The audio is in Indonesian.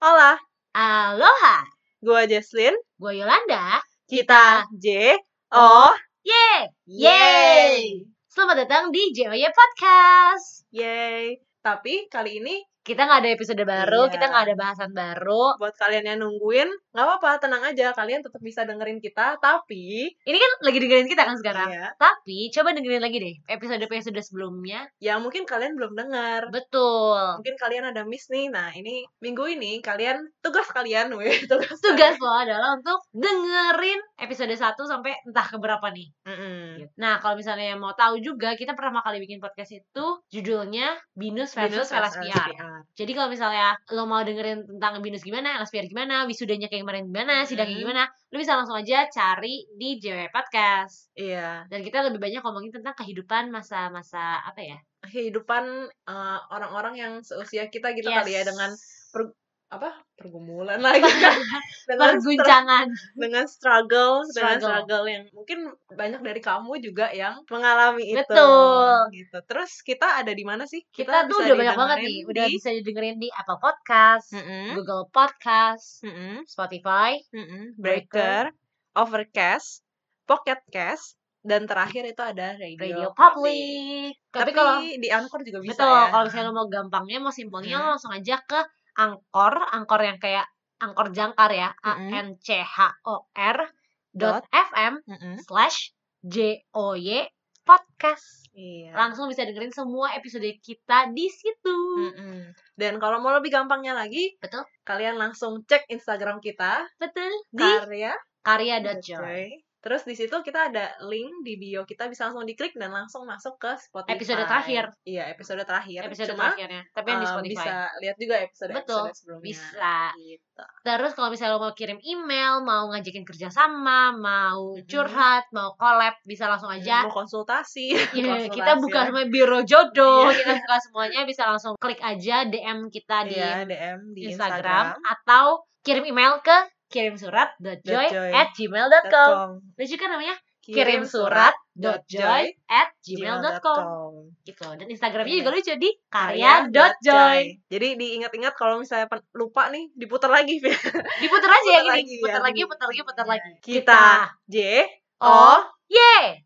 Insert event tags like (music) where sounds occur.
Hola, Aloha, gua Jesslyn. gue Yolanda. Kita J Oh, O Yeay! Selamat datang di JOY Podcast. Yay. Tapi kali ini Kita nggak ada episode baru, Iya. kita nggak ada bahasan baru. buat kalian yang nungguin, nggak apa-apa, tenang aja, kalian tetap bisa dengerin kita, tapi Ini kan lagi dengerin kita kan sekarang. Iya, Tapi coba dengerin lagi deh episode-episode sebelumnya. yang ya mungkin kalian belum dengar. Betul. Mungkin kalian ada miss nih. Nah, ini minggu ini kalian tugas kalian, (laughs) weh, tugas. Tugas lo adalah untuk dengerin episode 1 sampai entah keberapa nih. Mm-mm. Nah, kalau misalnya yang mau tahu juga, kita pertama kali bikin podcast itu judulnya Binus Binus versus versus LSPR. LSPR. Jadi kalau misalnya lo mau dengerin tentang Binus gimana, LSPR gimana, wisudanya kayak kemarin gimana, sidangnya Mhm. gimana, lo bisa langsung aja cari di JW Podcast. Iya. Dan kita lebih banyak ngomongin tentang kehidupan masa-masa apa ya? Kehidupan eh, orang-orang yang seusia kita gitu Yes. kali ya dengan apa? pergumulan (laughs) lagi kan. Dengan stres perguncangan. dengan struggle, dengan Struggle. struggle yang mungkin banyak dari kamu juga yang mengalami itu. Betul. Gitu. Terus kita ada di mana sih? Kita, tuh udah banyak banget nih, didengerin udah di- bisa didengerin di Apple Podcast, Mm-mm, Google Podcast, mm-mm, Spotify, mm-mm. Breaker. Breaker, Overcast, Pocket Cast, dan terakhir itu ada Radio, Radio Public. Tapi kalau di Anchor juga bisa Betul, ya. kalau misalnya lo mau gampangnya, mau simpelnya lo Mm. langsung aja ke angkor, angkor yang kayak angkor jangkar ya, a Mm-mm. n c h o r dot fm Mm-mm. slash j o y podcast. Iya. Langsung bisa dengerin semua episode kita di situ. Mm-mm. Dan kalau mau lebih gampangnya lagi, Betul. kalian langsung cek Instagram kita Betul di karya Iya, karya.joy. Terus di situ kita ada link di bio kita bisa langsung diklik dan langsung masuk ke Spotify. Episode terakhir. Iya, episode terakhir. Episode Cuma terakhirnya, tapi yang di um, Spotify. bisa lihat juga episode episode Betul, sebelumnya. Bisa. Gitu. Terus kalau misalnya lo mau kirim email, mau ngajakin kerjasama, mau Mhm. curhat, mau collab, bisa langsung aja Mau konsultasi. Iya, konsultasi kita buka ya. semua biro jodoh, Iya. kita buka semuanya bisa langsung klik aja DM kita di Iya, DM di Instagram, atau kirim email ke kirim surat Dot joy. at gmail.com. Instagram.com. Lucu kan namanya? Kirim surat dot joy at gmail.com gitu. Dan Instagramnya Iya. juga lucu di karya dot joy. Karya.joy. Jadi diingat-ingat kalau misalnya pen- lupa nih, diputar lagi. (laughs) Diputer aja Putar yang ini, lagi, putar yang lagi, ini. putar lagi, putar lagi. Kita J O oh, ye!